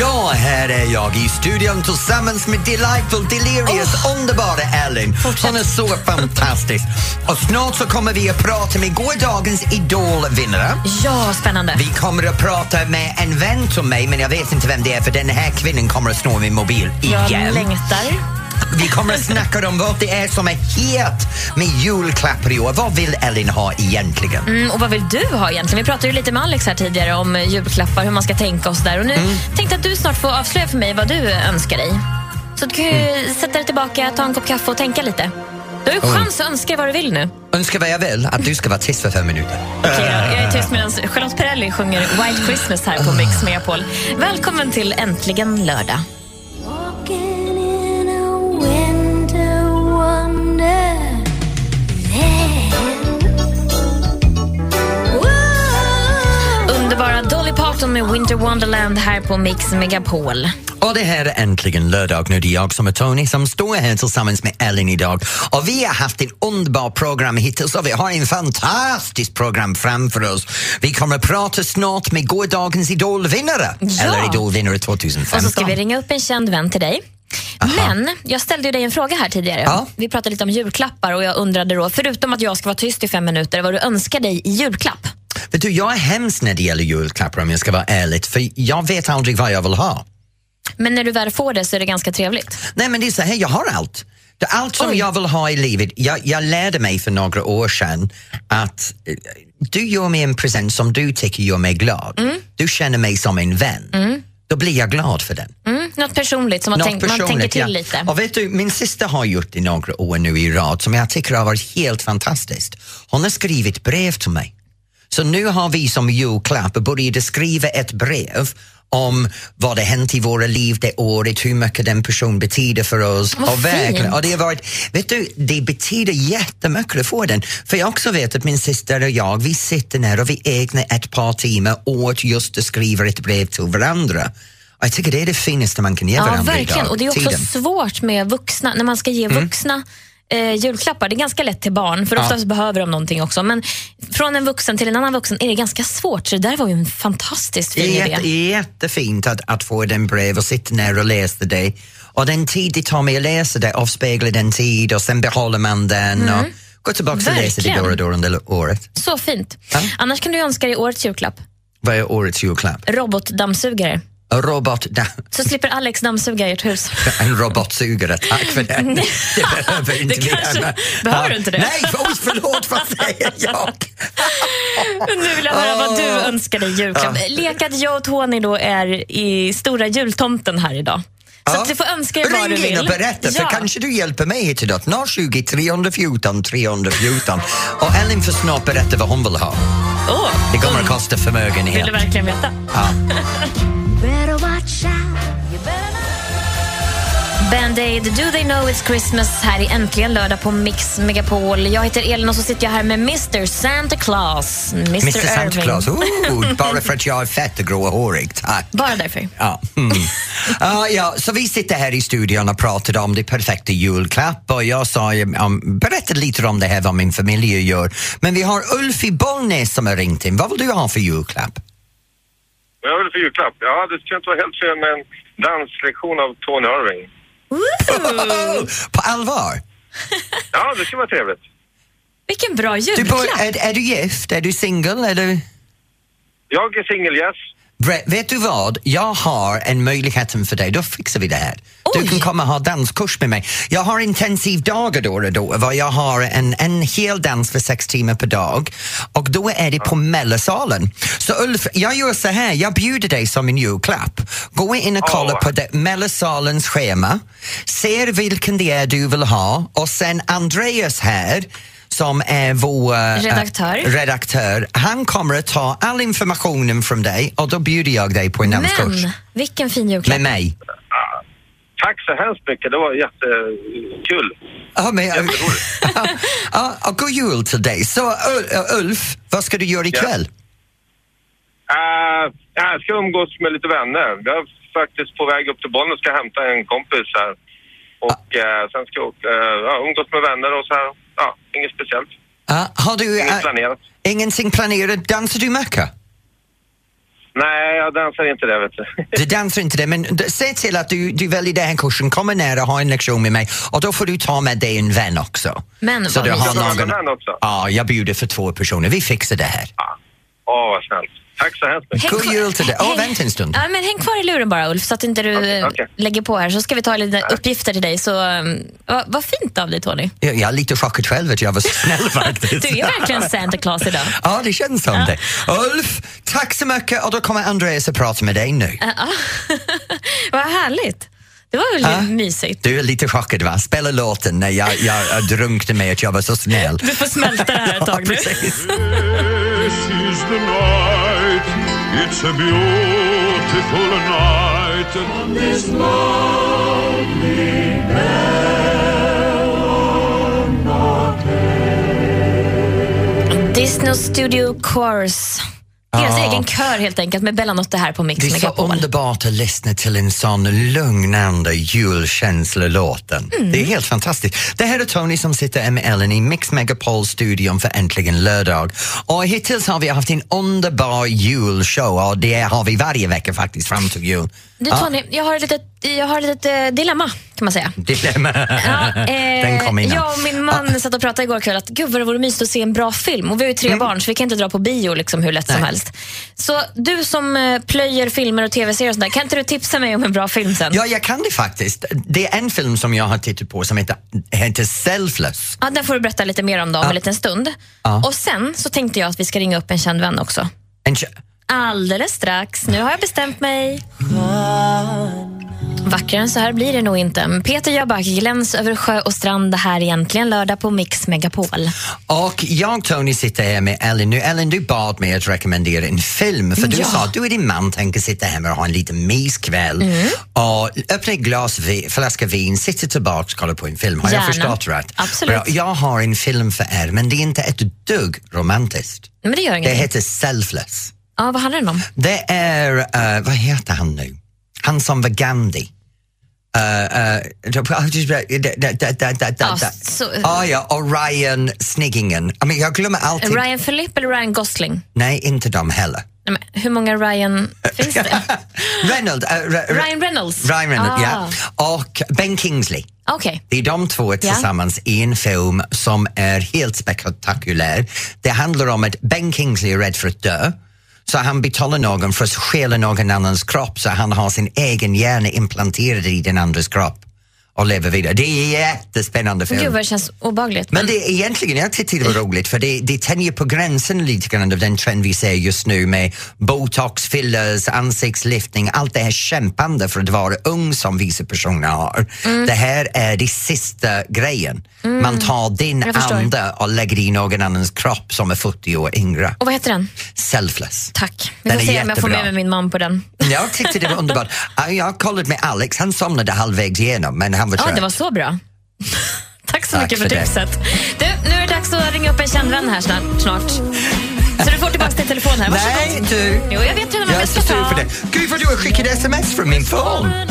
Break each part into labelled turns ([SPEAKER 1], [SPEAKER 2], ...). [SPEAKER 1] Ja, här är jag i studion tillsammans med Delightful, Delirious,
[SPEAKER 2] Oh.
[SPEAKER 1] underbara Ellen. Hon är så fantastisk. Och snart så kommer vi att prata med gårdagens Idol-vinnare.
[SPEAKER 2] Ja, spännande.
[SPEAKER 1] Vi kommer att prata med en vän till mig, men jag vet inte vem det är för den här kvinnan kommer att snå min mobil
[SPEAKER 2] Jag
[SPEAKER 1] igen.
[SPEAKER 2] längtar.
[SPEAKER 1] Vi kommer att snacka om vad det är som är het med julklappar i år. Vad vill Ellen ha egentligen?
[SPEAKER 2] Mm, och vad vill du ha egentligen? Vi pratade ju lite med Alex här tidigare om eh, julklappar, hur man ska tänka och sådär. Och nu tänkte jag att du snart får avslöja för mig vad du önskar dig. Så du kan ju sätta dig tillbaka, ta en kopp kaffe och tänka lite. Du har ju chans att önska dig vad du vill nu.
[SPEAKER 1] Önskar vad jag vill att du ska vara tyst för fem minuter.
[SPEAKER 2] Okej, då, jag är tyst medan Charlotte Perrelli sjunger White Christmas här på Mix Megapol. Välkommen till Äntligen lördag. Underbara Dolly Parton med Winter Wonderland här på Mix Megapol.
[SPEAKER 1] Och det här är äntligen lördag nu. Det är jag som är Tony som står här tillsammans med Ellen idag. Och vi har haft ett underbart program hittills och vi har en fantastisk program framför oss. Vi kommer att prata snart med gårdagens idolvinnare.
[SPEAKER 2] Ja.
[SPEAKER 1] Eller idolvinnare 2015.
[SPEAKER 2] Och så ska vi ringa upp en känd vän till dig. Men jag ställde ju dig en fråga här tidigare.
[SPEAKER 1] Ja.
[SPEAKER 2] Vi pratade lite om julklappar och jag undrade då, förutom att jag ska vara tyst i fem minuter, vad du önskar dig i julklapp.
[SPEAKER 1] Vet du, jag är hemsk när det gäller julklappar om jag ska vara ärlig. För jag vet aldrig vad jag vill ha.
[SPEAKER 2] Men när du väl får det så är det ganska trevligt.
[SPEAKER 1] Nej men det är så här, jag har allt. Det- Allt som
[SPEAKER 2] Oj.
[SPEAKER 1] jag vill ha i livet. Jag, jag lärde mig för några år sedan att eh, du gör mig en present som du tycker gör mig glad. Du känner mig som en vän. Då blir jag glad för den.
[SPEAKER 2] Mm, något personligt som man, tänk, man tänker till
[SPEAKER 1] ja.
[SPEAKER 2] lite.
[SPEAKER 1] Och vet du, min syster har gjort det några år nu i rad som jag tycker har varit helt fantastiskt. Hon har skrivit brev till mig. Så nu har vi som julklapp börjat skriva ett brev om vad det hänt i våra liv det året, hur mycket den personen betyder för oss.
[SPEAKER 2] Vad
[SPEAKER 1] och verkligen,
[SPEAKER 2] fint.
[SPEAKER 1] och det har varit, vet du, det betyder jättemycket att få den. För jag också vet att min syster och jag, vi sitter ner och vi ägnar ett par timmar åt just att skriva ett brev till varandra. Och jag tycker det är det finaste man kan ge
[SPEAKER 2] Ja,
[SPEAKER 1] varandra
[SPEAKER 2] verkligen.
[SPEAKER 1] idag.
[SPEAKER 2] Och det är också
[SPEAKER 1] tiden. Mm.
[SPEAKER 2] svårt med vuxna, när man ska ge vuxna eh, julklappar. Det är ganska lätt till barn, för oftast behöver de någonting också. Men från en vuxen till en annan vuxen är det ganska svårt, så det där var ju en fantastiskt fin
[SPEAKER 1] Det är
[SPEAKER 2] idé.
[SPEAKER 1] jätte, jättefint att, att få den brev och sitta ner och läsa det. Och den tid det tar mig att läsa det avspeglar den tid och sen behåller man den och går tillbaka och läser det
[SPEAKER 2] Mm. Verkligen.
[SPEAKER 1] då och då under året.
[SPEAKER 2] Så fint.
[SPEAKER 1] Ja.
[SPEAKER 2] Annars kan du önska dig årets julklapp.
[SPEAKER 1] Vad är årets julklapp?
[SPEAKER 2] Robotdammsugare.
[SPEAKER 1] En robot, da-
[SPEAKER 2] Så slipper Alex dammsuga i ert hus.
[SPEAKER 1] en robotsugare, tack för det. Det behöver inte
[SPEAKER 2] Det kanske-
[SPEAKER 1] annat.
[SPEAKER 2] behöver
[SPEAKER 1] Ja.
[SPEAKER 2] du inte det?
[SPEAKER 1] Nej, oj, förlåt, vad säger jag?
[SPEAKER 2] nu vill jag höra vad du
[SPEAKER 1] Åh.
[SPEAKER 2] önskar dig i julklapp. Lek att jag och Tony då är i stora jultomten här idag. Så
[SPEAKER 1] Ja.
[SPEAKER 2] att du får önska dig vad du
[SPEAKER 1] Ring
[SPEAKER 2] vill.
[SPEAKER 1] in och berätta, för kanske du hjälper mig hit idag. 020 314 314. Och Ellen får snart berätta vad hon vill ha.
[SPEAKER 2] Åh,
[SPEAKER 1] Det kommer att kosta
[SPEAKER 2] vill
[SPEAKER 1] förmögenhet.
[SPEAKER 2] du verkligen veta? Band-Aid, Do They Know It's Christmas här i Äntligen lördag på Mix Megapol. Jag heter Elin och så sitter jag här med Mr Santa Claus. Mr,
[SPEAKER 1] Mr Santa
[SPEAKER 2] Irving.
[SPEAKER 1] Claus, oh, bara för att jag är fett och grå och hårig, tack.
[SPEAKER 2] Bara därför.
[SPEAKER 1] Ja. Mm. Ja, ja, så vi sitter här i studion och pratade om det perfekta julklapp och jag sa, ju, um, berättade lite om det här vad min familj gör. Men vi har Ulf i Bollnäs som har ringt in. Vad vill du ha för julklapp?
[SPEAKER 3] Vad jag vill för julklapp? Ja, det skulle inte vara helt fel med en danslektion av Tony Irving.
[SPEAKER 1] Oh, på allvar?
[SPEAKER 3] Ja, det skulle vara trevligt.
[SPEAKER 2] Vilken bra
[SPEAKER 1] Du
[SPEAKER 2] julklapp.
[SPEAKER 1] bor, är, är du gift? Är du singel? Är du...
[SPEAKER 3] Jag är singel, yes.
[SPEAKER 1] Bre- Vet du vad? Jag har en möjlighet för dig. Då fixar vi det här.
[SPEAKER 2] Oj.
[SPEAKER 1] Du kan komma och ha danskurs med mig. Jag har intensivdagar då och då. Var jag har en, en hel dans för sex timmar per dag och då är det på Mellosalen. Så Ulf, jag gör så här. Jag bjuder dig som en julklapp. Gå in och kolla
[SPEAKER 3] Åh.
[SPEAKER 1] på det- Mellosalens schema. Ser vilken det är du vill ha och sen Andreas här som är vår eh,
[SPEAKER 2] Redaktör.
[SPEAKER 1] redaktör, han kommer att ta all informationen från dig och då bjuder jag dig på en danskurs.
[SPEAKER 2] Men vilken fin julklapp.
[SPEAKER 1] Med mig.
[SPEAKER 3] Tack så hemskt mycket, det var jättekul.
[SPEAKER 1] Ja, men, ja, ja, ja, god jul till dig. Så Ul- Ulf, vad ska du göra ikväll?
[SPEAKER 3] Uh, jag ska umgås med lite vänner. Jag är faktiskt på väg upp till Bonn och ska hämta en kompis här. Och eh, sen ska jag eh, ja, umgås med vänner och så här. Ja, inget speciellt.
[SPEAKER 1] Ja, har du...
[SPEAKER 3] Inget
[SPEAKER 1] eh,
[SPEAKER 3] planerat.
[SPEAKER 1] Ingenting planerat. Dansar du macka?
[SPEAKER 3] Nej, jag dansar inte det vet du.
[SPEAKER 1] Du dansar inte det, men d- se till att du, du väljer den här kursen, kommer nära, ha en lektion med mig och då får du ta med dig en vän också.
[SPEAKER 2] Men
[SPEAKER 1] så
[SPEAKER 2] vad
[SPEAKER 1] du
[SPEAKER 2] mysigt.
[SPEAKER 1] har
[SPEAKER 3] Ska du ha med
[SPEAKER 1] någon...
[SPEAKER 3] vän också?
[SPEAKER 1] Ja, jag bjuder för två personer. Vi fixar det här.
[SPEAKER 3] Åh, vad snällt. Tack så hemskt mycket.
[SPEAKER 2] Häng
[SPEAKER 1] God
[SPEAKER 2] kvar-
[SPEAKER 1] jul till dig. Åh,
[SPEAKER 2] häng-
[SPEAKER 1] vänta en stund.
[SPEAKER 2] Ja, men häng kvar i luren bara, Ulf, så att inte du
[SPEAKER 3] Okej,
[SPEAKER 2] eh,
[SPEAKER 3] okej.
[SPEAKER 2] lägger på här. Så ska vi ta lite uppgifter till dig. Så, um, vad, vad fint av dig, Tony.
[SPEAKER 1] Jag, jag är lite chockad själv att jag var så snäll faktiskt.
[SPEAKER 2] Du är verkligen Santa Claus idag.
[SPEAKER 1] Ja, det känns som det. Ulf, tack så mycket och då kommer Andreas att prata med dig nu.
[SPEAKER 2] Ja. vad härligt. Det var väl
[SPEAKER 1] Ja.
[SPEAKER 2] mysigt.
[SPEAKER 1] Du är lite chockad va? Spela låten när jag, jag, jag drunknade med att jag var så snäll.
[SPEAKER 2] Du får smälta det här ett tag nu.
[SPEAKER 1] Precis.
[SPEAKER 4] This is the night. It's a beautiful night. On this
[SPEAKER 2] Disney Studio Chorus. Deras
[SPEAKER 1] Ja.
[SPEAKER 2] egen kör helt enkelt med Bellanotte här på Mix
[SPEAKER 1] Det är så
[SPEAKER 2] Megapol.
[SPEAKER 1] underbart att lyssna till en sån lugnande julkänslolåten. Det är helt fantastiskt. Det här är Tony som sitter här med Ellen i Mix Megapol-studion för Äntligen lördag. Och hittills har vi haft en underbar julshow och det har vi varje vecka faktiskt fram till jul.
[SPEAKER 2] Du Tony, jag har ett litet, jag har ett litet eh, dilemma kan man säga.
[SPEAKER 1] Dilemma.
[SPEAKER 2] Ja, eh,
[SPEAKER 1] Den kom innan.
[SPEAKER 2] Jag och min man satt och pratade igår kväll att gud vad det vore mysigt att se en bra film. Och vi har ju tre barn så vi kan inte dra på bio liksom hur lätt som
[SPEAKER 1] Mm. Nej.
[SPEAKER 2] helst. Så du som eh, plöjer filmer och tv-serier och sånt där, kan inte du tipsa mig om en bra film sen?
[SPEAKER 1] Ja, jag kan det faktiskt. Det är en film som jag har tittat på som heter, heter Selfless.
[SPEAKER 2] Ja, den får du berätta lite mer om då, om en liten stund. Och sen så tänkte jag att vi ska ringa upp en känd vän också.
[SPEAKER 1] En tje-
[SPEAKER 2] Alldeles strax. Nu har jag bestämt mig. Vackrare än så här blir det nog inte. Men Peter Jöback, Gläns över sjö och strand. Det här är egentligen lördag på Mix Megapol.
[SPEAKER 1] Och jag, Tony, sitter här med Ellen nu. Ellen, du bad mig att rekommendera en film för du
[SPEAKER 2] Ja.
[SPEAKER 1] sa att du och din man tänker sitta hemma och ha en liten myskväll
[SPEAKER 2] Mm.
[SPEAKER 1] och öppna ett glas vi, flaska vin, sitta tillbaka och kolla på en film. Har
[SPEAKER 2] Gärna.
[SPEAKER 1] jag förstått rätt?
[SPEAKER 2] Absolut.
[SPEAKER 1] Bra. Jag har en film för er, men det är inte ett dugg romantiskt.
[SPEAKER 2] Men det gör
[SPEAKER 1] Det
[SPEAKER 2] ingenting.
[SPEAKER 1] heter Selfless.
[SPEAKER 2] Ja, vad handlar den om?
[SPEAKER 1] Det är, eh, vad heter han nu? Han som var Gandhi. Eh,
[SPEAKER 2] Ja, Ah, så-
[SPEAKER 1] Ja, ja, och Ryan Sniggingen. I mean, jag glömmer alltid.
[SPEAKER 2] Ryan Philippe eller Ryan Gosling?
[SPEAKER 1] Nej, inte de heller.
[SPEAKER 2] Nej, men hur många Ryan finns det?
[SPEAKER 1] Reynolds. eh, Re- Re-
[SPEAKER 2] Ryan Ah. Reynolds? Ah,
[SPEAKER 1] Ryan Reynolds, ja. Och Ben Kingsley.
[SPEAKER 2] Okej.
[SPEAKER 1] Det är de två tillsammans i en film som är helt spektakulär. Det handlar om att Ben Kingsley är rädd för att dö. Så han betalar någon för att stjäla någon annans kropp så han har sin egen hjärna implanterad i den andras kropp och lever vidare. Det är en jättespännande film.
[SPEAKER 2] Gud vad det känns obehagligt.
[SPEAKER 1] Men det är egentligen, jag tyckte
[SPEAKER 2] Eh.
[SPEAKER 1] det var roligt för det, det tänjer på gränsen lite grann av den trend vi ser just nu med botox, fillers, ansiktslyftning, allt det här kämpande för att vara ung som vissa personer har.
[SPEAKER 2] Mm.
[SPEAKER 1] Det här är det sista grejen. Man tar din
[SPEAKER 2] Jag förstår.
[SPEAKER 1] ande och lägger i någon annans kropp som är 40 år yngre.
[SPEAKER 2] Och vad heter den?
[SPEAKER 1] Selfless.
[SPEAKER 2] Tack. Vi
[SPEAKER 1] Den
[SPEAKER 2] får
[SPEAKER 1] är
[SPEAKER 2] se om jag får
[SPEAKER 1] jättebra.
[SPEAKER 2] med mig min man på den.
[SPEAKER 1] Jag tyckte det var underbart. Ja, Jag har kollat med Alex, han somnade halvvägs igenom men han var
[SPEAKER 2] Ja,
[SPEAKER 1] trött.
[SPEAKER 2] det var så bra. Tack så
[SPEAKER 1] Tack
[SPEAKER 2] mycket för,
[SPEAKER 1] för det.
[SPEAKER 2] tipset. Du, nu är det dags att ringa upp en känd vän här snart. snart. Så du får tillbaka din telefon här. Varsågod.
[SPEAKER 1] Nej du,
[SPEAKER 2] Jo, jag vet redan
[SPEAKER 1] jag
[SPEAKER 2] vad
[SPEAKER 1] är
[SPEAKER 2] jag
[SPEAKER 1] så
[SPEAKER 2] ska
[SPEAKER 1] sur för
[SPEAKER 2] ta.
[SPEAKER 1] det. Gud vad du har skickat sms från min phone.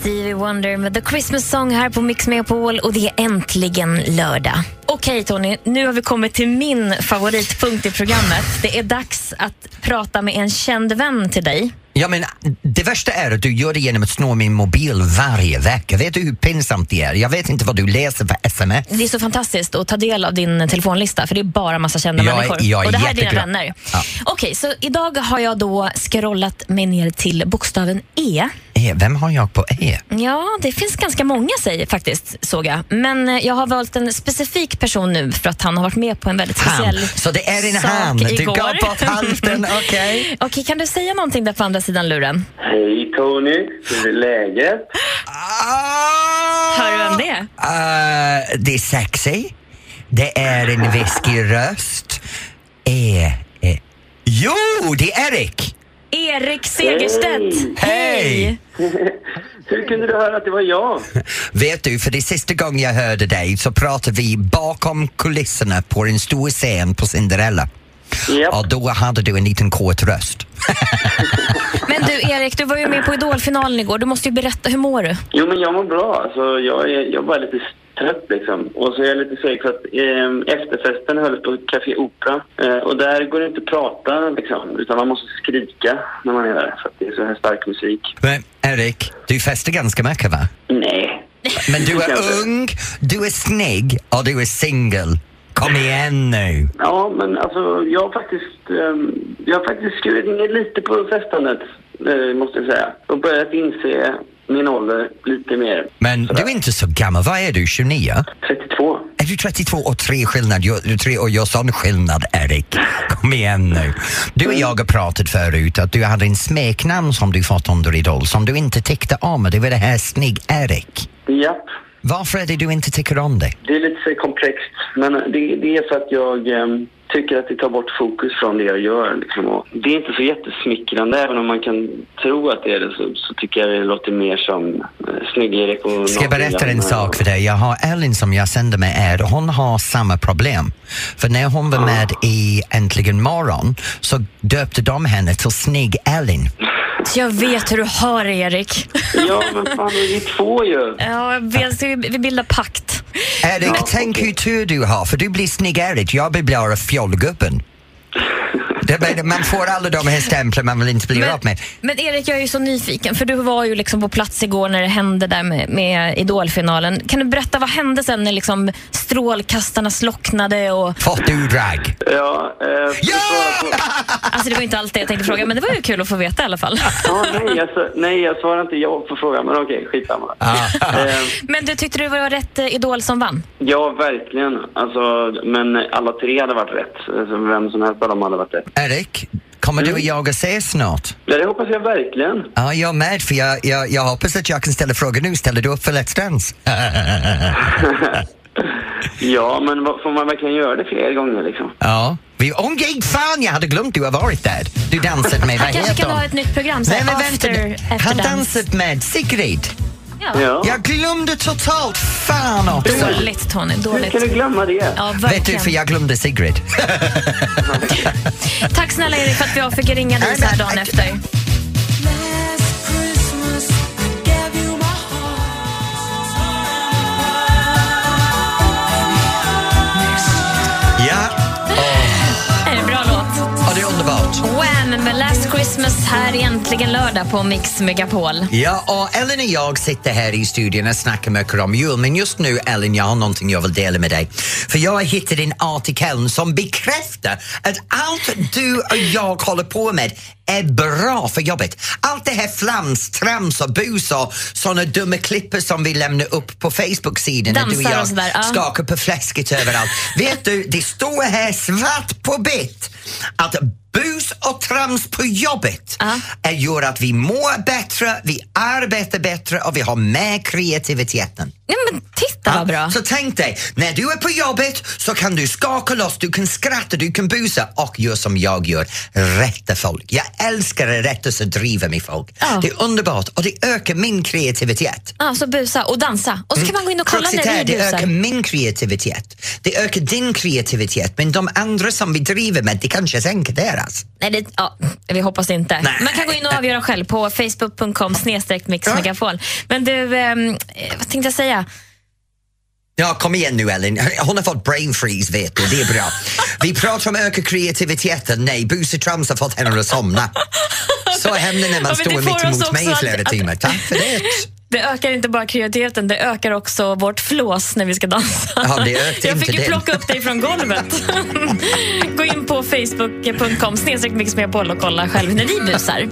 [SPEAKER 2] Stevie Wonder med The Christmas Song här på Mix Megapol och det är äntligen lördag. Okej Tony, nu har vi kommit till min favoritpunkt i programmet. Det är dags att prata med en känd vän till dig.
[SPEAKER 1] Ja, men det värsta är att du gör det genom att snå min mobil varje vecka. Vet du hur pinsamt det är? Jag vet inte vad du läser för sms.
[SPEAKER 2] Det är så fantastiskt att ta del av din telefonlista för det är bara massa kända
[SPEAKER 1] Jag är-
[SPEAKER 2] människor.
[SPEAKER 1] jag är
[SPEAKER 2] och det här är dina
[SPEAKER 1] jätteglad.
[SPEAKER 2] vänner.
[SPEAKER 1] Ja.
[SPEAKER 2] Okej, så idag har jag då scrollat mig ner till bokstaven E.
[SPEAKER 1] Eh, Vem har jag på E?
[SPEAKER 2] Ja, det finns ganska många säger faktiskt, såg jag. Men eh, jag har valt en specifik person nu för att han har varit med på en väldigt
[SPEAKER 1] Han.
[SPEAKER 2] speciell
[SPEAKER 1] Så det är en
[SPEAKER 2] sak
[SPEAKER 1] han. Du
[SPEAKER 2] igår.
[SPEAKER 1] gav bort hälften, okej.
[SPEAKER 2] Okej, kan du säga någonting där på andra sidan luren?
[SPEAKER 5] Hej Tony, hur är läget?
[SPEAKER 1] Ah!
[SPEAKER 2] Hör du vem det är?
[SPEAKER 1] Eh, det är sexy. Det är en viskig röst. E. e. Jo, det är Erik!
[SPEAKER 2] Erik Segerstedt.
[SPEAKER 1] Hej!
[SPEAKER 5] Hur kunde du höra att det var jag?
[SPEAKER 1] Vet du, för det sista gången jag hörde dig så pratade vi bakom kulisserna på en stor scen på Cinderella.
[SPEAKER 5] Japp.
[SPEAKER 1] Och då hade du en liten kort röst.
[SPEAKER 2] Men du Erik, du var ju med på Idolfinalen igår. Du måste ju berätta, hur mår du?
[SPEAKER 5] Jo, men jag mår bra. Alltså, jag, är, jag är bara lite trött liksom. Och så är jag lite seg för att eh, efterfesten hölls på Café Opera. Eh, och där går det inte att prata liksom, utan man måste skrika när man är där för att det är så här stark musik.
[SPEAKER 1] Men Erik, du festar ganska mycket va?
[SPEAKER 5] Nej.
[SPEAKER 1] Men du
[SPEAKER 5] Kanske.
[SPEAKER 1] är ung, du är snygg och du är singel. Kom igen nu!
[SPEAKER 5] Ja, men alltså jag har faktiskt, eh, jag har faktiskt skurit ner lite på festandet, eh, måste jag säga. Och börjat inse min ålder lite mer.
[SPEAKER 1] Men du är inte så gammal, vad är du, 29?
[SPEAKER 5] 32.
[SPEAKER 1] Är du 32 och tre skillnad? Jag, tre och jag sån skillnad, Erik. Kom igen nu. Du och jag har pratat förut att du hade en smeknamn som du fått under Idol som du inte tyckte om. Det var det här Snygg-Erik.
[SPEAKER 5] Japp.
[SPEAKER 1] Varför är det du inte tycker om det?
[SPEAKER 5] Det är lite så här komplext, men det, det är för att jag ehm, tycker att det tar bort fokus från det jag gör. Liksom. Och det är inte så jättesmickrande, även om man kan tro att det är det, så, så tycker jag det låter mer som eh, Snygg-Erik och...
[SPEAKER 1] Ska jag berätta en sak för dig? Jag har Ellen som jag sänder med er. Hon har samma problem. För när hon var med i Äntligen morgon så döpte de henne till Snygg-Elin.
[SPEAKER 2] Jag vet hur du har det, Erik.
[SPEAKER 5] Ja, men fan, vi är två ju.
[SPEAKER 2] Ja, vi, alltså, vi bildar pakt.
[SPEAKER 1] Erik, tänk hur tur du har, för du blir snygg-Erik. Jag blir bara fjollgubben. Det blir- man får alla de här stämplarna man vill inte bli av
[SPEAKER 2] Men,
[SPEAKER 1] med.
[SPEAKER 2] men Erik, jag är ju så nyfiken, för du var ju liksom på plats igår när det hände där med, med Idolfinalen. Kan du berätta, vad hände sen när liksom strålkastarna slocknade? Och,
[SPEAKER 1] Fått du drag?
[SPEAKER 5] Ja, eh, för
[SPEAKER 1] Ja!
[SPEAKER 5] att svara på-
[SPEAKER 2] alltså det var inte allt det jag tänkte fråga, men det var ju kul att få veta i alla fall.
[SPEAKER 5] Ja, nej, jag, sa- nej, jag svarar inte ja på frågan, men okej, skitsamma.
[SPEAKER 1] Ah.
[SPEAKER 5] Eh,
[SPEAKER 2] Men du tyckte du var rätt eh, Idol som vann?
[SPEAKER 5] ja, verkligen. Alltså, men alla tre hade varit rätt. Alltså, vem som helst av dem hade varit rätt.
[SPEAKER 1] Erik, kommer du och jag att ses snart?
[SPEAKER 5] Ja, det hoppas jag verkligen.
[SPEAKER 1] Ja, jag med, för jag, jag, jag hoppas att jag kan ställa frågor nu. Ställer du upp för Let's Dance?
[SPEAKER 5] Ja, men vad, får man verkligen göra det fler gånger liksom?
[SPEAKER 1] Ja. Vi, åh gud, fan, jag hade glömt du har varit där. Du dansat med, vad
[SPEAKER 2] Kanske
[SPEAKER 1] heter
[SPEAKER 2] kan
[SPEAKER 1] hon?
[SPEAKER 2] ha ett nytt program, så
[SPEAKER 1] Nej,
[SPEAKER 2] här,
[SPEAKER 1] men vänta
[SPEAKER 2] after,
[SPEAKER 1] nu.
[SPEAKER 2] after
[SPEAKER 1] Han
[SPEAKER 2] dance.
[SPEAKER 1] dansat med Sigrid.
[SPEAKER 5] Ja.
[SPEAKER 1] Jag glömde totalt, fan också.
[SPEAKER 2] Dåligt Tony,
[SPEAKER 5] Hur kan
[SPEAKER 2] dåligt.
[SPEAKER 5] du glömma det?
[SPEAKER 2] Ja,
[SPEAKER 1] Vet du, för
[SPEAKER 2] verkligen.
[SPEAKER 1] jag glömde Sigrid.
[SPEAKER 2] Tack snälla Erik för att jag fick ringa dig så här dagen efter.
[SPEAKER 1] Ja,
[SPEAKER 2] Är det en bra låt?
[SPEAKER 1] och det är underbart.
[SPEAKER 2] Wham! Med Last Christmas här egentligen lördag på Mix Megapol.
[SPEAKER 1] Ja, och Ellen och jag sitter här i studion och snackar mycket om jul. Men just nu, Ellen, jag har någonting jag vill dela med dig. För jag har hittat en artikel som bekräftar att allt du och jag håller på med är bra för jobbet. Allt det här flams, trams och bus och såna dumma klippar som vi lämnar upp på Facebook-sidan. när
[SPEAKER 2] Dansar och sådär, ja.
[SPEAKER 1] skakar kakor på fläsket överallt. Vet du, det står här svart på vitt att bus och trams på jobbet uh. gör att vi mår bättre, vi arbetar bättre och vi har mer kreativiteten.
[SPEAKER 2] Nej men titta vad bra.
[SPEAKER 1] Så tänk dig, när du är på jobbet så kan du skaka loss, du kan skratta, du kan busa och gör som jag gör, rätta folk. Jag älskar att rätta så driver mig folk.
[SPEAKER 2] Ja.
[SPEAKER 1] Det är underbart och det ökar min kreativitet.
[SPEAKER 2] Ja, så busa och dansa. Och så kan man gå in och kolla
[SPEAKER 1] Kruxet
[SPEAKER 2] när
[SPEAKER 1] är,
[SPEAKER 2] vi
[SPEAKER 1] det Mm. ökar
[SPEAKER 2] busar.
[SPEAKER 1] min kreativitet. Det ökar din kreativitet, men de andra som vi driver med, det kanske sänker deras.
[SPEAKER 2] Nej, det, ja, vi hoppas inte.
[SPEAKER 1] Nej.
[SPEAKER 2] Man kan gå in och avgöra själv på facebook.com snedstreck mixmegapol. Men du, ehm, eh, vad tänkte jag säga?
[SPEAKER 1] Ja, kom igen nu Ellen. Hon har fått brain freeze vet du, det är bra. Vi pratar om öka kreativiteten, nej, Buse Trams har fått henne att somna. Så händer när man
[SPEAKER 2] Ja, men
[SPEAKER 1] står
[SPEAKER 2] det får
[SPEAKER 1] mitt
[SPEAKER 2] oss
[SPEAKER 1] emot
[SPEAKER 2] också
[SPEAKER 1] mig i
[SPEAKER 2] att-
[SPEAKER 1] flera
[SPEAKER 2] att-
[SPEAKER 1] timmar. Tack för det.
[SPEAKER 2] Det ökar inte bara kreativiteten, det ökar också vårt flås när vi ska dansa.
[SPEAKER 1] Ja, det ökar
[SPEAKER 2] jag
[SPEAKER 1] inte
[SPEAKER 2] fick ju
[SPEAKER 1] det.
[SPEAKER 2] plocka upp dig från golvet. Gå in på facebook.com snedstreck mixmegapol och kolla själv när vi busar.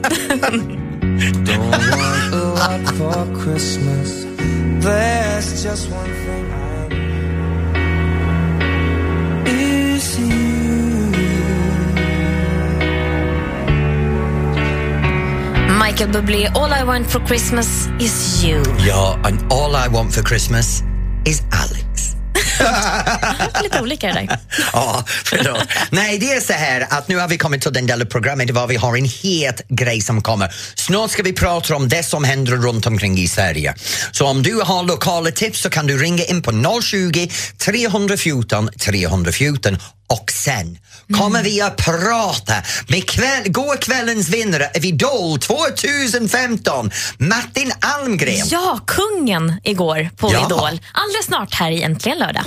[SPEAKER 2] Michael Bublé, All I want for Christmas is you.
[SPEAKER 1] Ja, and all I want for Christmas is Alex.
[SPEAKER 2] Lite olika det där.
[SPEAKER 1] Ja, förlåt. Nej, det är så här att nu har vi kommit till den delen av programmet där vi har en het grej som kommer. Snart ska vi prata om det som händer runt omkring i Sverige. Så om du har lokala tips så kan du ringa in på 020 314 314 och sen kommer vi att prata med kväll, går kvällens vinnare i Idol 2015, Martin Almgren.
[SPEAKER 2] Ja, kungen igår på
[SPEAKER 1] Ja.
[SPEAKER 2] Idol. Alldeles snart här i Äntligen lördag.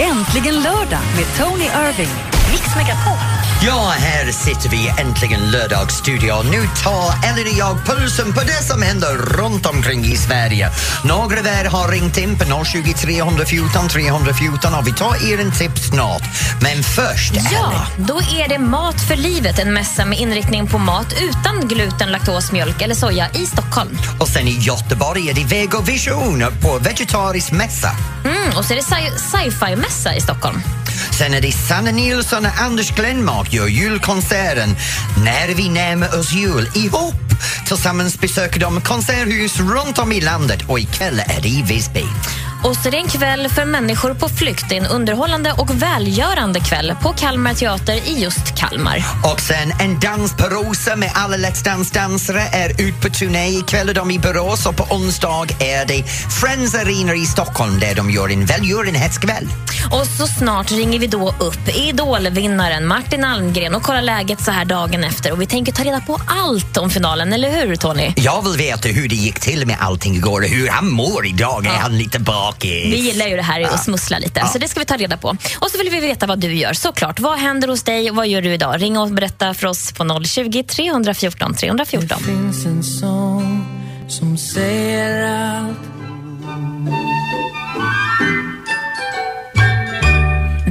[SPEAKER 6] Äntligen lördag med Tony Irving.
[SPEAKER 2] Mix Megapol.
[SPEAKER 1] Ja, här sitter vi äntligen lördagsstudio. Nu tar Ellen och jag pulsen på det som händer runt omkring i Sverige. Några av er har ringt in på 020 314 314 och vi tar er en tips snart. Men först,
[SPEAKER 2] Ja,
[SPEAKER 1] Ellen.
[SPEAKER 2] då är det Mat för livet, en mässa med inriktning på mat utan gluten, laktos, mjölk eller soja i Stockholm.
[SPEAKER 1] Och sen i Göteborg är det Vegovision på vegetarisk mässa.
[SPEAKER 2] Mm, och så är det sci- sci-fi-mässa i Stockholm.
[SPEAKER 1] Sen är det Sanna Nilsson och Anders Glenmark gör julkonserten När vi närmar oss jul ihop. Tillsammans besöker de konserthus runt om i landet och ikväll är det i Visby.
[SPEAKER 2] Och så är det en kväll för människor på flykt. Det är en underhållande och välgörande kväll på Kalmar Teater i just Kalmar.
[SPEAKER 1] Och sen en dans på Rosa med alla Let's Dance-dansare är ut på turné. Ikväll är de i Borås och på onsdag är det Friends Arena i Stockholm där de gör en välgörenhetskväll.
[SPEAKER 2] Och så snart ringer vi då upp Idolvinnaren Martin Almgren och kollar läget så här dagen efter. Och vi tänker ta reda på allt om finalen, eller hur Tony?
[SPEAKER 1] Jag vill veta hur det gick till med allting igår och hur han mår idag. Är han lite bakis?
[SPEAKER 2] Vi gillar ju det här att smussla lite, så det ska vi ta reda på. Och så vill vi veta vad du gör såklart. Vad händer hos dig och vad gör du idag? Ring och berätta för oss på 020 314 314.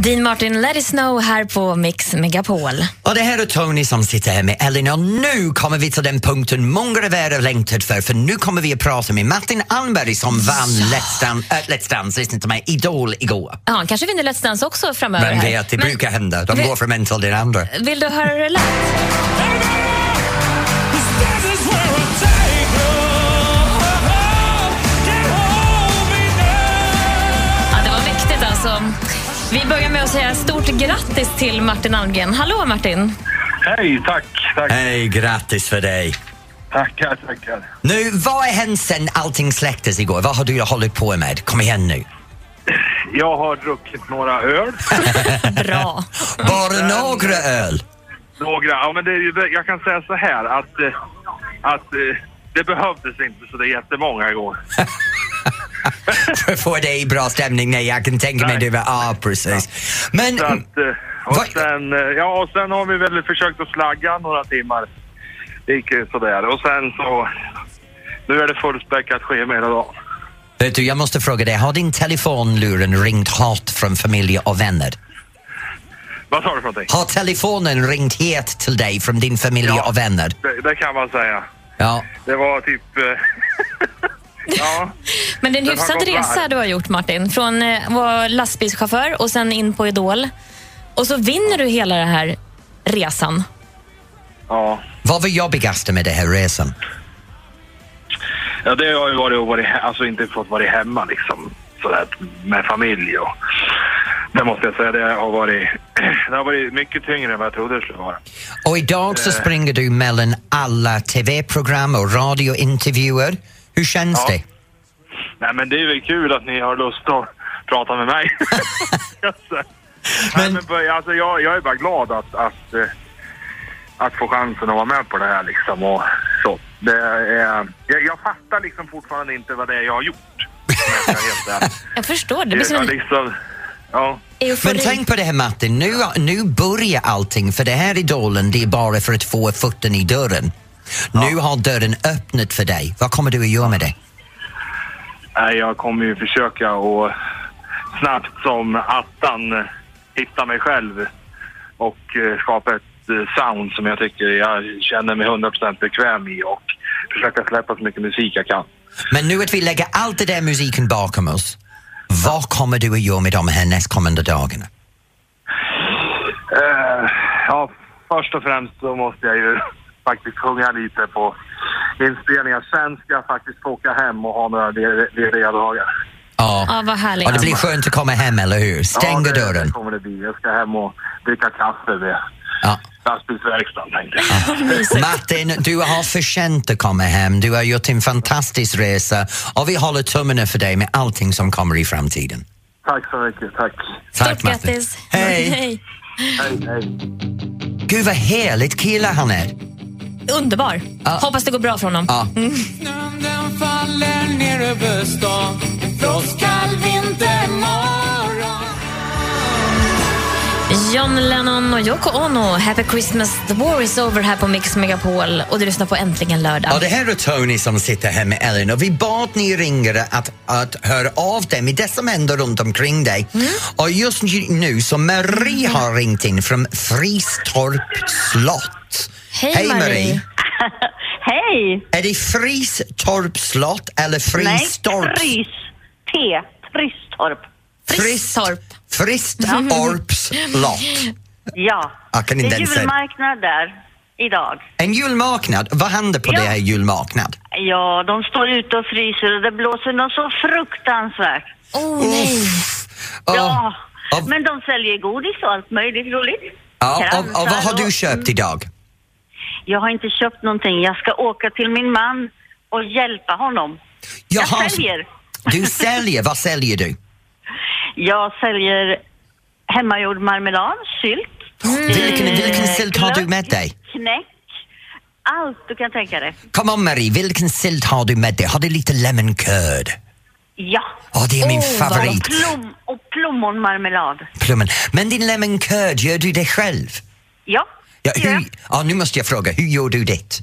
[SPEAKER 2] Dean Martin, let it snow här på Mix Megapol.
[SPEAKER 1] Och det här är Tony som sitter här med Ellen och nu kommer vi till den punkten många av er har längtat för för nu kommer vi att prata med Martin Almberg som vann Let's, Dance, äh, Let's Dance, lyssna till mig, Idol igår.
[SPEAKER 2] Ja, han kanske vinner Let's Dance också framöver.
[SPEAKER 1] Vem
[SPEAKER 2] här.
[SPEAKER 1] vet, det
[SPEAKER 2] Men
[SPEAKER 1] brukar hända. De
[SPEAKER 2] vi-
[SPEAKER 1] går från en till den andra.
[SPEAKER 2] Vill du höra hur det lät? Ja, det var mäktigt alltså. Vi börjar med att säga stort grattis till Martin Almgren. Hallå Martin!
[SPEAKER 3] Hej, tack, tack,
[SPEAKER 1] Hej, grattis för dig.
[SPEAKER 3] tackar, tackar.
[SPEAKER 1] Nu, vad har hänt sen allting släcktes igår? Vad har du hållit på med? Kom igen nu.
[SPEAKER 3] Jag har druckit några öl.
[SPEAKER 2] Bra!
[SPEAKER 3] Mm.
[SPEAKER 1] Bara några öl.
[SPEAKER 3] Några, ja men det, är ju- det- jag kan säga så här att, eh, att eh, det behövdes inte så det är jättemånga igår.
[SPEAKER 1] För att få dig i bra stämning. Nej, jag kan tänka mig
[SPEAKER 3] Nej.
[SPEAKER 1] det var... Ja, precis. Men...
[SPEAKER 3] Så att, eh, och,
[SPEAKER 1] Vad-
[SPEAKER 3] sen, eh, ja, och sen har vi väl försökt att slagga några timmar. Det gick ju sådär. Och sen så... Nu är det fullspäckat schema hela dagen.
[SPEAKER 1] Vet du, jag måste fråga dig. Har din telefonluren ringt hat från familj och vänner?
[SPEAKER 3] Vad sa du för någonting?
[SPEAKER 1] Har telefonen ringt het till dig från din familj
[SPEAKER 3] Ja.
[SPEAKER 1] och vänner?
[SPEAKER 3] Det, det kan man säga.
[SPEAKER 1] Ja.
[SPEAKER 3] Det var typ... Eh, ja,
[SPEAKER 2] Men det är en
[SPEAKER 3] Den har
[SPEAKER 2] hyfsad
[SPEAKER 3] gått
[SPEAKER 2] resa
[SPEAKER 3] varm.
[SPEAKER 2] du har gjort Martin. Från eh, att vara lastbilschaufför och sen in på Idol. Och så vinner du hela den här resan.
[SPEAKER 3] ja.
[SPEAKER 1] Vad var jobbigaste med den här resan?
[SPEAKER 3] Ja, det har ju varit att varit, he- alltså inte fått vara hemma liksom sådär med familj och det måste jag säga, det har varit, det har varit mycket tyngre än vad jag trodde det skulle vara.
[SPEAKER 1] Och idag
[SPEAKER 3] Eh.
[SPEAKER 1] så springer du mellan alla tv-program och radiointervjuer. Hur känns
[SPEAKER 3] Ja.
[SPEAKER 1] det?
[SPEAKER 3] Nej men det är väl kul att ni har lust att prata med mig. men... Nej, men, alltså, jag, jag är bara glad att, att, eh, att få chansen att vara med på det här liksom och så. Det är, jag, jag fattar liksom fortfarande inte vad det är jag har gjort. om jag ska vara helt ärlig.
[SPEAKER 2] Jag förstår, det blir som
[SPEAKER 3] jag,
[SPEAKER 2] en
[SPEAKER 3] liksom, ja.
[SPEAKER 1] Men
[SPEAKER 2] eufori.
[SPEAKER 1] tänk på det här Martin, nu, nu börjar allting för det här idolen det är bara för att få foten i dörren. Nu har dörren öppnat för dig. Vad kommer du att göra med det?
[SPEAKER 3] Nej, jag kommer ju försöka och snabbt som attan eh, hitta mig själv och eh, skapa ett eh, sound som jag tycker jag känner mig 100% bekväm i och försöka släppa så mycket musik jag kan.
[SPEAKER 1] Men nu att vi lägger allt det där musiken bakom oss, vad kommer du att göra med de här nästkommande dagarna?
[SPEAKER 3] Eh, ja, först och främst så måste jag ju faktiskt sjunga lite på inspelningar. Sen ska jag faktiskt få åka hem och ha några le- lediga dagar.
[SPEAKER 1] Ja.
[SPEAKER 2] Ja, vad härligt.
[SPEAKER 1] Ja, det blir skönt att komma hem, eller hur? Stänger
[SPEAKER 7] ja, det,
[SPEAKER 1] dörren.
[SPEAKER 7] Det kommer det bli. Jag ska hem och dricka kaffe vid
[SPEAKER 1] Ja.
[SPEAKER 7] lastbilsverkstaden tänkte jag.
[SPEAKER 1] Martin, du har förtjänt att komma hem. Du har gjort en fantastisk resa och vi håller tummarna för dig med allting som kommer i framtiden.
[SPEAKER 7] Tack så mycket, tack.
[SPEAKER 2] Stort grattis.
[SPEAKER 1] Hej!
[SPEAKER 2] Hej.
[SPEAKER 7] Hej, hej.
[SPEAKER 1] Gud vad härligt kille han är.
[SPEAKER 2] Underbar. Hoppas det går bra för honom. Mm.
[SPEAKER 1] Ja.
[SPEAKER 2] John Lennon och Yoko Ono, Happy Christmas, the war is over här på Mix Megapol och du lyssnar på Äntligen lördag.
[SPEAKER 1] Ja, det här är Tony som sitter här med Ellen och vi bad ni ringare att, att höra av dig med det som händer runt omkring dig.
[SPEAKER 8] Mm.
[SPEAKER 1] Och just nu så Marie har ringt in från Fristorp slott.
[SPEAKER 2] Hej, Marie.
[SPEAKER 8] Hej!
[SPEAKER 1] Är det Fristorp slott eller
[SPEAKER 8] Nej,
[SPEAKER 1] Fristorps?
[SPEAKER 8] Frys. T. Frystorp.
[SPEAKER 2] Fristorp.
[SPEAKER 1] Fristorps slott.
[SPEAKER 8] Ja.
[SPEAKER 1] Jag kan
[SPEAKER 8] det
[SPEAKER 1] inte
[SPEAKER 8] är
[SPEAKER 1] ens säga-
[SPEAKER 8] julmarknad där idag.
[SPEAKER 1] En julmarknad, vad händer på
[SPEAKER 8] Ja.
[SPEAKER 1] det här julmarknad?
[SPEAKER 8] Ja, de står ute och fryser och det blåser något så fruktansvärt.
[SPEAKER 2] Oh, nej.
[SPEAKER 1] Och,
[SPEAKER 8] Ja.
[SPEAKER 1] och,
[SPEAKER 8] Men de säljer godis och allt möjligt roligt.
[SPEAKER 1] ja, och, och
[SPEAKER 8] Kransar
[SPEAKER 1] vad har du
[SPEAKER 8] och-
[SPEAKER 1] köpt idag?
[SPEAKER 8] Jag har inte köpt någonting. Jag ska åka till min man och hjälpa honom. Jag
[SPEAKER 1] Jaha,
[SPEAKER 8] säljer.
[SPEAKER 1] Du säljer, vad säljer du?
[SPEAKER 8] Jag säljer hemmagjord marmelad, sylt.
[SPEAKER 2] Mm.
[SPEAKER 1] Vilken,
[SPEAKER 8] eh,
[SPEAKER 1] vilken sylt har du
[SPEAKER 8] glögg,
[SPEAKER 1] med dig?
[SPEAKER 8] Knäck. Allt du kan tänka dig.
[SPEAKER 1] Kom on Marie, vilken sylt har du med dig? Har du lite lemon curd?
[SPEAKER 8] Ja.
[SPEAKER 1] Ja, det är min
[SPEAKER 2] Åh, Oh, vad
[SPEAKER 1] favorit,
[SPEAKER 8] Plom och plommonmarmelad.
[SPEAKER 1] plummen. Men din lemon curd, gör du det själv?
[SPEAKER 8] Ja.
[SPEAKER 1] Ja,
[SPEAKER 8] det gör
[SPEAKER 1] hur,
[SPEAKER 8] jag.
[SPEAKER 1] ja, nu måste jag fråga, hur gör du det?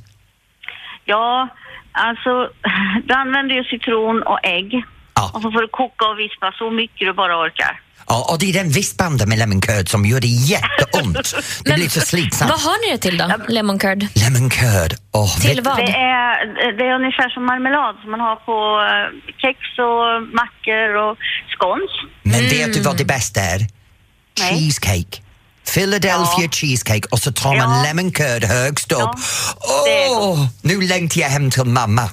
[SPEAKER 8] ja, alltså du använder ju citron och ägg.
[SPEAKER 1] Ja.
[SPEAKER 8] Och så får du koka och vispa så mycket du bara orkar.
[SPEAKER 1] Ja, och det är den vispbandet med lemon curd som gör det jätteont. Det blir så slitsamt.
[SPEAKER 2] Vad har ni det till då? Lemon curd?
[SPEAKER 1] Lemon curd, åh.
[SPEAKER 2] Till
[SPEAKER 1] vet-
[SPEAKER 2] vad?
[SPEAKER 8] Det är, det är ungefär som marmelad som man har på eh, kex och mackor och scones.
[SPEAKER 1] Men vet du vad det bästa är?
[SPEAKER 8] Mm. Nej.
[SPEAKER 1] Cheesecake. Philadelphia
[SPEAKER 8] Ja.
[SPEAKER 1] cheesecake och så tar man
[SPEAKER 8] Ja.
[SPEAKER 1] lemon curd högst upp.
[SPEAKER 8] det är
[SPEAKER 1] Åh, nu längtar jag hem till mamma.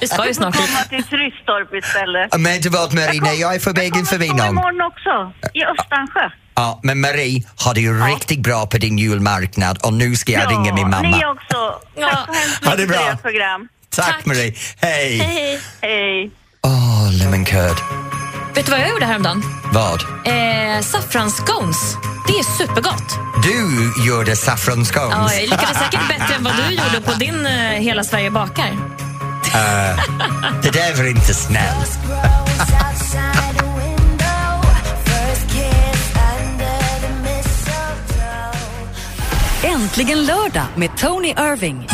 [SPEAKER 2] Vi ska ju snart dit.
[SPEAKER 8] Komma till Frystorp istället.
[SPEAKER 1] Men vet du vad Marie, när jag är på vägen förbi
[SPEAKER 8] Jag kommer
[SPEAKER 1] någon.
[SPEAKER 8] imorgon också, i Östansjö.
[SPEAKER 1] Ja, men Marie, har det ju riktigt bra på din julmarknad och nu ska jag ringa min
[SPEAKER 8] Ni
[SPEAKER 1] mamma.
[SPEAKER 8] också.
[SPEAKER 2] Ja.
[SPEAKER 8] Tack så hemskt
[SPEAKER 1] Ha det
[SPEAKER 8] mycket för
[SPEAKER 1] bra.
[SPEAKER 8] ert program.
[SPEAKER 1] Tack,
[SPEAKER 2] Tack.
[SPEAKER 1] Marie, hej!
[SPEAKER 2] Hej.
[SPEAKER 8] Hej.
[SPEAKER 1] Åh, lemon curd.
[SPEAKER 2] Vet du vad jag gjorde häromdagen?
[SPEAKER 1] Vad?
[SPEAKER 2] Eh, saffransscones. Det är supergott.
[SPEAKER 1] Du gjorde saffranscones.
[SPEAKER 2] Ja, jag lyckades säkert bättre än vad du gjorde på din eh, Hela Sverige bakar.
[SPEAKER 1] Det där var inte snällt.
[SPEAKER 6] Äntligen lördag med Tony Irving.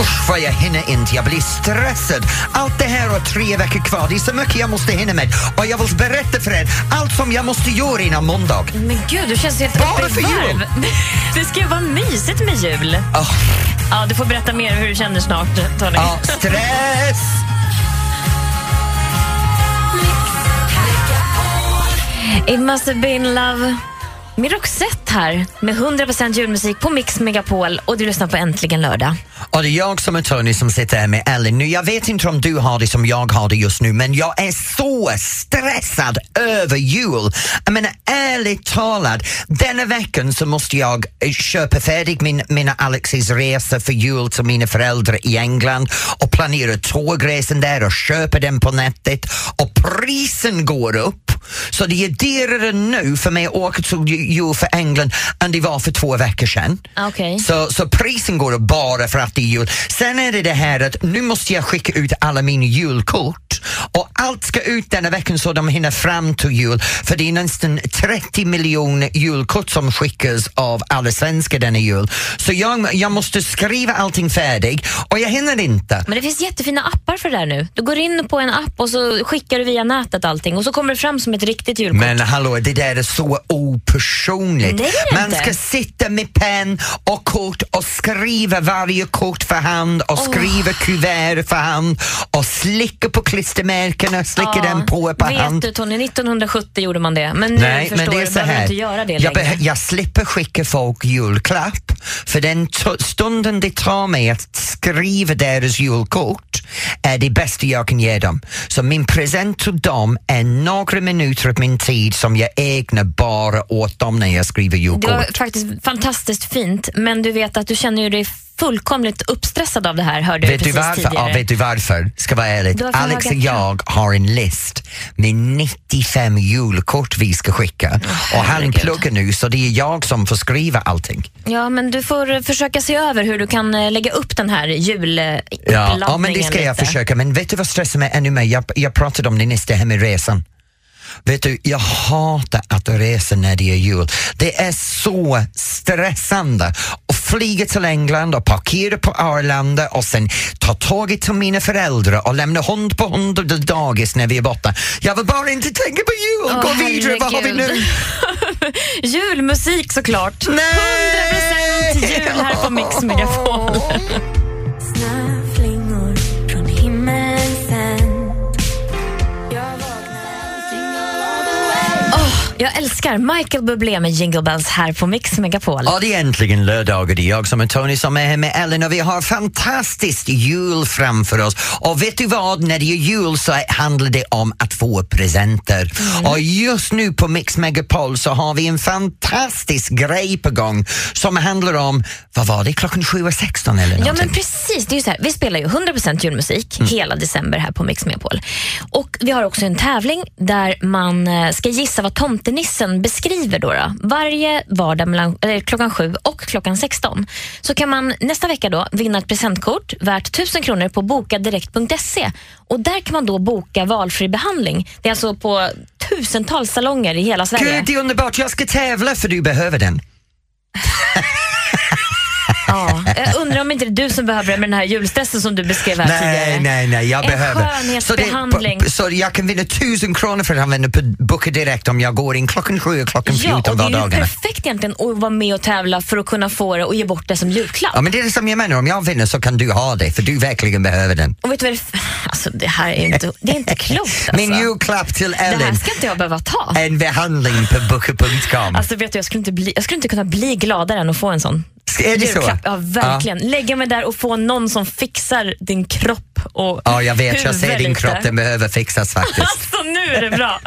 [SPEAKER 1] Usch vad jag hinner inte, jag blir stressad. Allt det här och tre veckor kvar, det är så mycket jag måste hinna med. Och jag vill berätta för er allt som jag måste göra innan måndag.
[SPEAKER 2] Men gud, du känns helt
[SPEAKER 1] Bara
[SPEAKER 2] uppe
[SPEAKER 1] för
[SPEAKER 2] i
[SPEAKER 1] jul. Ah.
[SPEAKER 2] varv. Det ska ju vara mysigt med jul.
[SPEAKER 1] Åh,
[SPEAKER 2] Ja, du får berätta mer hur du känner snart, Tony.
[SPEAKER 1] ja, stress!
[SPEAKER 2] It must have been love. Med Roxette här, med 100% julmusik på Mix Megapol och du lyssnar på Äntligen lördag.
[SPEAKER 1] Och det är jag som är Tony som sitter här med Ellen nu. Jag vet inte om du har det som jag har det just nu men jag är så stressad över jul. Jag menar ärligt talat, denna veckan så måste jag eh, köpa färdigt min, mina Alexis resa för jul till mina föräldrar i England och planera tågresan där och köpa den på nätet och prisen går upp. Så det är dyrare nu för mig att åka till ju- jul för England än det var för två veckor sedan.
[SPEAKER 2] Okej.
[SPEAKER 1] Så, så prisen går upp bara för att det är jul. Sen är det det här att nu måste jag skicka ut alla mina julkort och allt ska ut denna veckan så de hinner fram till jul för det är nästan 30 miljoner julkort som skickas av alla svenskar denna jul. Så jag, jag måste skriva allting färdigt och jag hinner inte.
[SPEAKER 2] Men det finns jättefina appar för det där nu. Du går in på en app och så skickar du via nätet allting och så kommer det fram som ett ett riktigt julkort.
[SPEAKER 1] Men hallå, det där är så opersonligt.
[SPEAKER 2] Nej, det är det
[SPEAKER 1] Man
[SPEAKER 2] inte.
[SPEAKER 1] ska sitta med penn och kort och skriva varje kort för hand och skriva kuvert för hand och slicka på klistermärkena, slicka
[SPEAKER 2] Ja,
[SPEAKER 1] den på på
[SPEAKER 2] vet
[SPEAKER 1] hand.
[SPEAKER 2] du Tony, 1970 gjorde man det. Men nu
[SPEAKER 1] Nej,
[SPEAKER 2] förstår
[SPEAKER 1] men det är
[SPEAKER 2] du,
[SPEAKER 1] så
[SPEAKER 2] behöver
[SPEAKER 1] här.
[SPEAKER 2] inte göra det
[SPEAKER 1] jag,
[SPEAKER 2] längre.
[SPEAKER 1] behö- jag slipper skicka folk julklapp, för den t- stunden det tar mig att skriva deras julkort är det bästa jag kan ge dem. Så min present till dem är några minuter av min tid som jag ägnar bara åt dem när jag skriver
[SPEAKER 2] Det
[SPEAKER 1] julkort.
[SPEAKER 2] var faktiskt fantastiskt fint, men du vet att du känner ju dig fullkomligt uppstressad av det här, hörde jag
[SPEAKER 1] Vet du,
[SPEAKER 2] precis
[SPEAKER 1] varför? Ja,
[SPEAKER 2] tidigare.
[SPEAKER 1] vet du varför? Ska vara ärlig.
[SPEAKER 2] Du har för
[SPEAKER 1] Alex och
[SPEAKER 2] höga
[SPEAKER 1] jag har en list med 95 julkort vi ska skicka och han pluggar nu så det är jag som får skriva allting.
[SPEAKER 2] Ja, men du får eh, försöka se över hur du kan eh, lägga upp den här
[SPEAKER 1] Ja,
[SPEAKER 2] juluppladdningen
[SPEAKER 1] ja, men det ska jag
[SPEAKER 2] lite.
[SPEAKER 1] försöka. Men vet du vad stressar mig ännu mer? Jag, jag pratade om det nyss, det här med resan. Vet du, jag hatar att resa när det är jul. Det är så stressande att flyga till England och parkera på Arlanda och sen ta tåget till mina föräldrar och lämna hund på hund och dagis när vi är borta. Jag vill bara inte tänka på jul!
[SPEAKER 2] Åh,
[SPEAKER 1] Gå vidare, vad har vi nu?
[SPEAKER 2] herregud. Julmusik såklart.
[SPEAKER 1] Nej!
[SPEAKER 2] 100% jul här på Mix Megapol. Åh, Jag älskar Michael Bublé med Jingle Bells här på Mix Megapol.
[SPEAKER 1] Ja, det är äntligen lördag och det är jag som är Tony som är här med Ellen och vi har fantastiskt jul framför oss. Och vet du vad, när det är jul så handlar det om att få presenter.
[SPEAKER 2] Mm.
[SPEAKER 1] Och just nu på Mix Megapol så har vi en fantastisk grej på gång som handlar om, vad var det, klockan 7.16 eller
[SPEAKER 2] Ja
[SPEAKER 1] någonting? Mm.
[SPEAKER 2] men precis, det är ju så här. vi spelar ju 100% julmusik hela december här på Mix Megapol. Och vi har också en tävling där man eh, ska gissa vad tomtenissen beskriver då. då. Varje vardag mellan eller klockan 7 och klockan 16 så kan man nästa vecka då vinna ett presentkort värt 1000 kronor på bokadirekt.se och där kan man då boka valfri behandling. Det är alltså på tusentals salonger i hela Sverige.
[SPEAKER 1] Gud, det är underbart, jag ska tävla för du behöver den.
[SPEAKER 2] Ja, jag undrar om inte det är du som behöver det med den här julstressen som du beskrev här
[SPEAKER 1] Nej,
[SPEAKER 2] tidigare.
[SPEAKER 1] nej, nej, jag
[SPEAKER 2] En
[SPEAKER 1] behöver.
[SPEAKER 2] skönhetsbehandling.
[SPEAKER 1] Så, det, så jag kan vinna tusen kronor för att använda på Booka Direkt om jag går in klockan 7 och klockan 14
[SPEAKER 2] Ja, och det är ju
[SPEAKER 1] vardagarna.
[SPEAKER 2] perfekt egentligen att vara med och tävla för att kunna få det och ge bort det som julklapp.
[SPEAKER 1] Ja, men det är det som jag menar, om jag vinner så kan du ha det för du verkligen behöver den.
[SPEAKER 2] Och vet du vad det är? Alltså det här är ju inte, det är inte klokt alltså.
[SPEAKER 1] Min julklapp till
[SPEAKER 2] Det här
[SPEAKER 1] Ellen,
[SPEAKER 2] ska inte jag behöva ta.
[SPEAKER 1] en behandling på booker.com.
[SPEAKER 2] Alltså vet du, jag skulle, inte bli, jag skulle inte kunna bli gladare än att få en sån.
[SPEAKER 1] är det så?
[SPEAKER 2] julklapp. Ja, verkligen. Lägga mig där och få någon som fixar din kropp och
[SPEAKER 1] Ja, jag vet, jag ser
[SPEAKER 2] huvud
[SPEAKER 1] din
[SPEAKER 2] lite.
[SPEAKER 1] kropp, den behöver fixas faktiskt.
[SPEAKER 2] Alltså nu är det bra.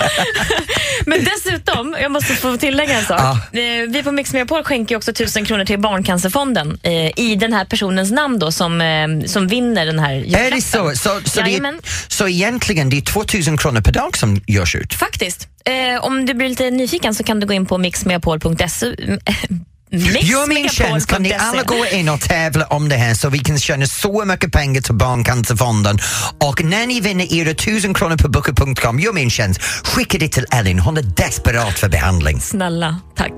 [SPEAKER 2] Men dessutom, jag måste få tillägga en sak.
[SPEAKER 1] Ja.
[SPEAKER 2] Eh, Vi på Mix Megapol skänker ju också 1000 kronor till Barncancerfonden eh, i den här personens namn då som, eh, som vinner den här
[SPEAKER 1] Är det så? Så, så, det är,
[SPEAKER 2] Jajamän.
[SPEAKER 1] så egentligen det är 2000 kronor per dag som görs ut?
[SPEAKER 2] Faktiskt. Eh, om du blir lite nyfiken så kan du gå in på mixmegapol.se.
[SPEAKER 1] Gör min tjänst, kan ni alla gå in och tävla om det här så vi kan tjäna så mycket pengar till Barncancerfonden. Och när ni vinner era tusen kronor på Booker.com, gör min tjänst, skicka det till Ellen, hon är desperat för behandling.
[SPEAKER 2] Snälla, tack.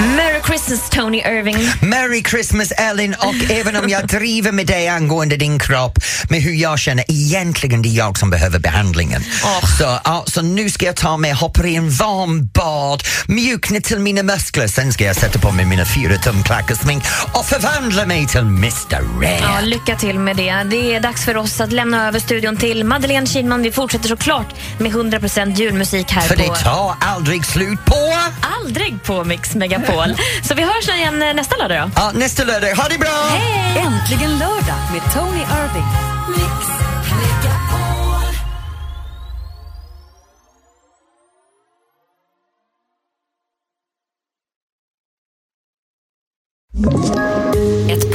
[SPEAKER 2] Merry Christmas Tony Irving.
[SPEAKER 1] Merry Christmas Ellen och även om jag driver med dig angående din kropp med hur jag känner, egentligen det är jag som behöver behandlingen. Så, ja, så nu ska jag ta mig, hoppa i en varm bad, mjukna till mina muskler, sen ska jag sätta på mig mina fyra tum klackersmink och förvandla mig till Mr Red.
[SPEAKER 2] Ja, lycka till med det. Det är dags för oss att lämna över studion till Madeleine Kihlman. Vi fortsätter såklart med 100% julmusik här
[SPEAKER 1] För
[SPEAKER 2] på...
[SPEAKER 1] det tar aldrig slut på...
[SPEAKER 2] Aldrig på Mix Megapol. Så vi hörs igen eh, nästa lördag då.
[SPEAKER 1] Ja, nästa lördag, ha det bra!
[SPEAKER 6] Äntligen lördag med Tony Irving.
[SPEAKER 9] Ett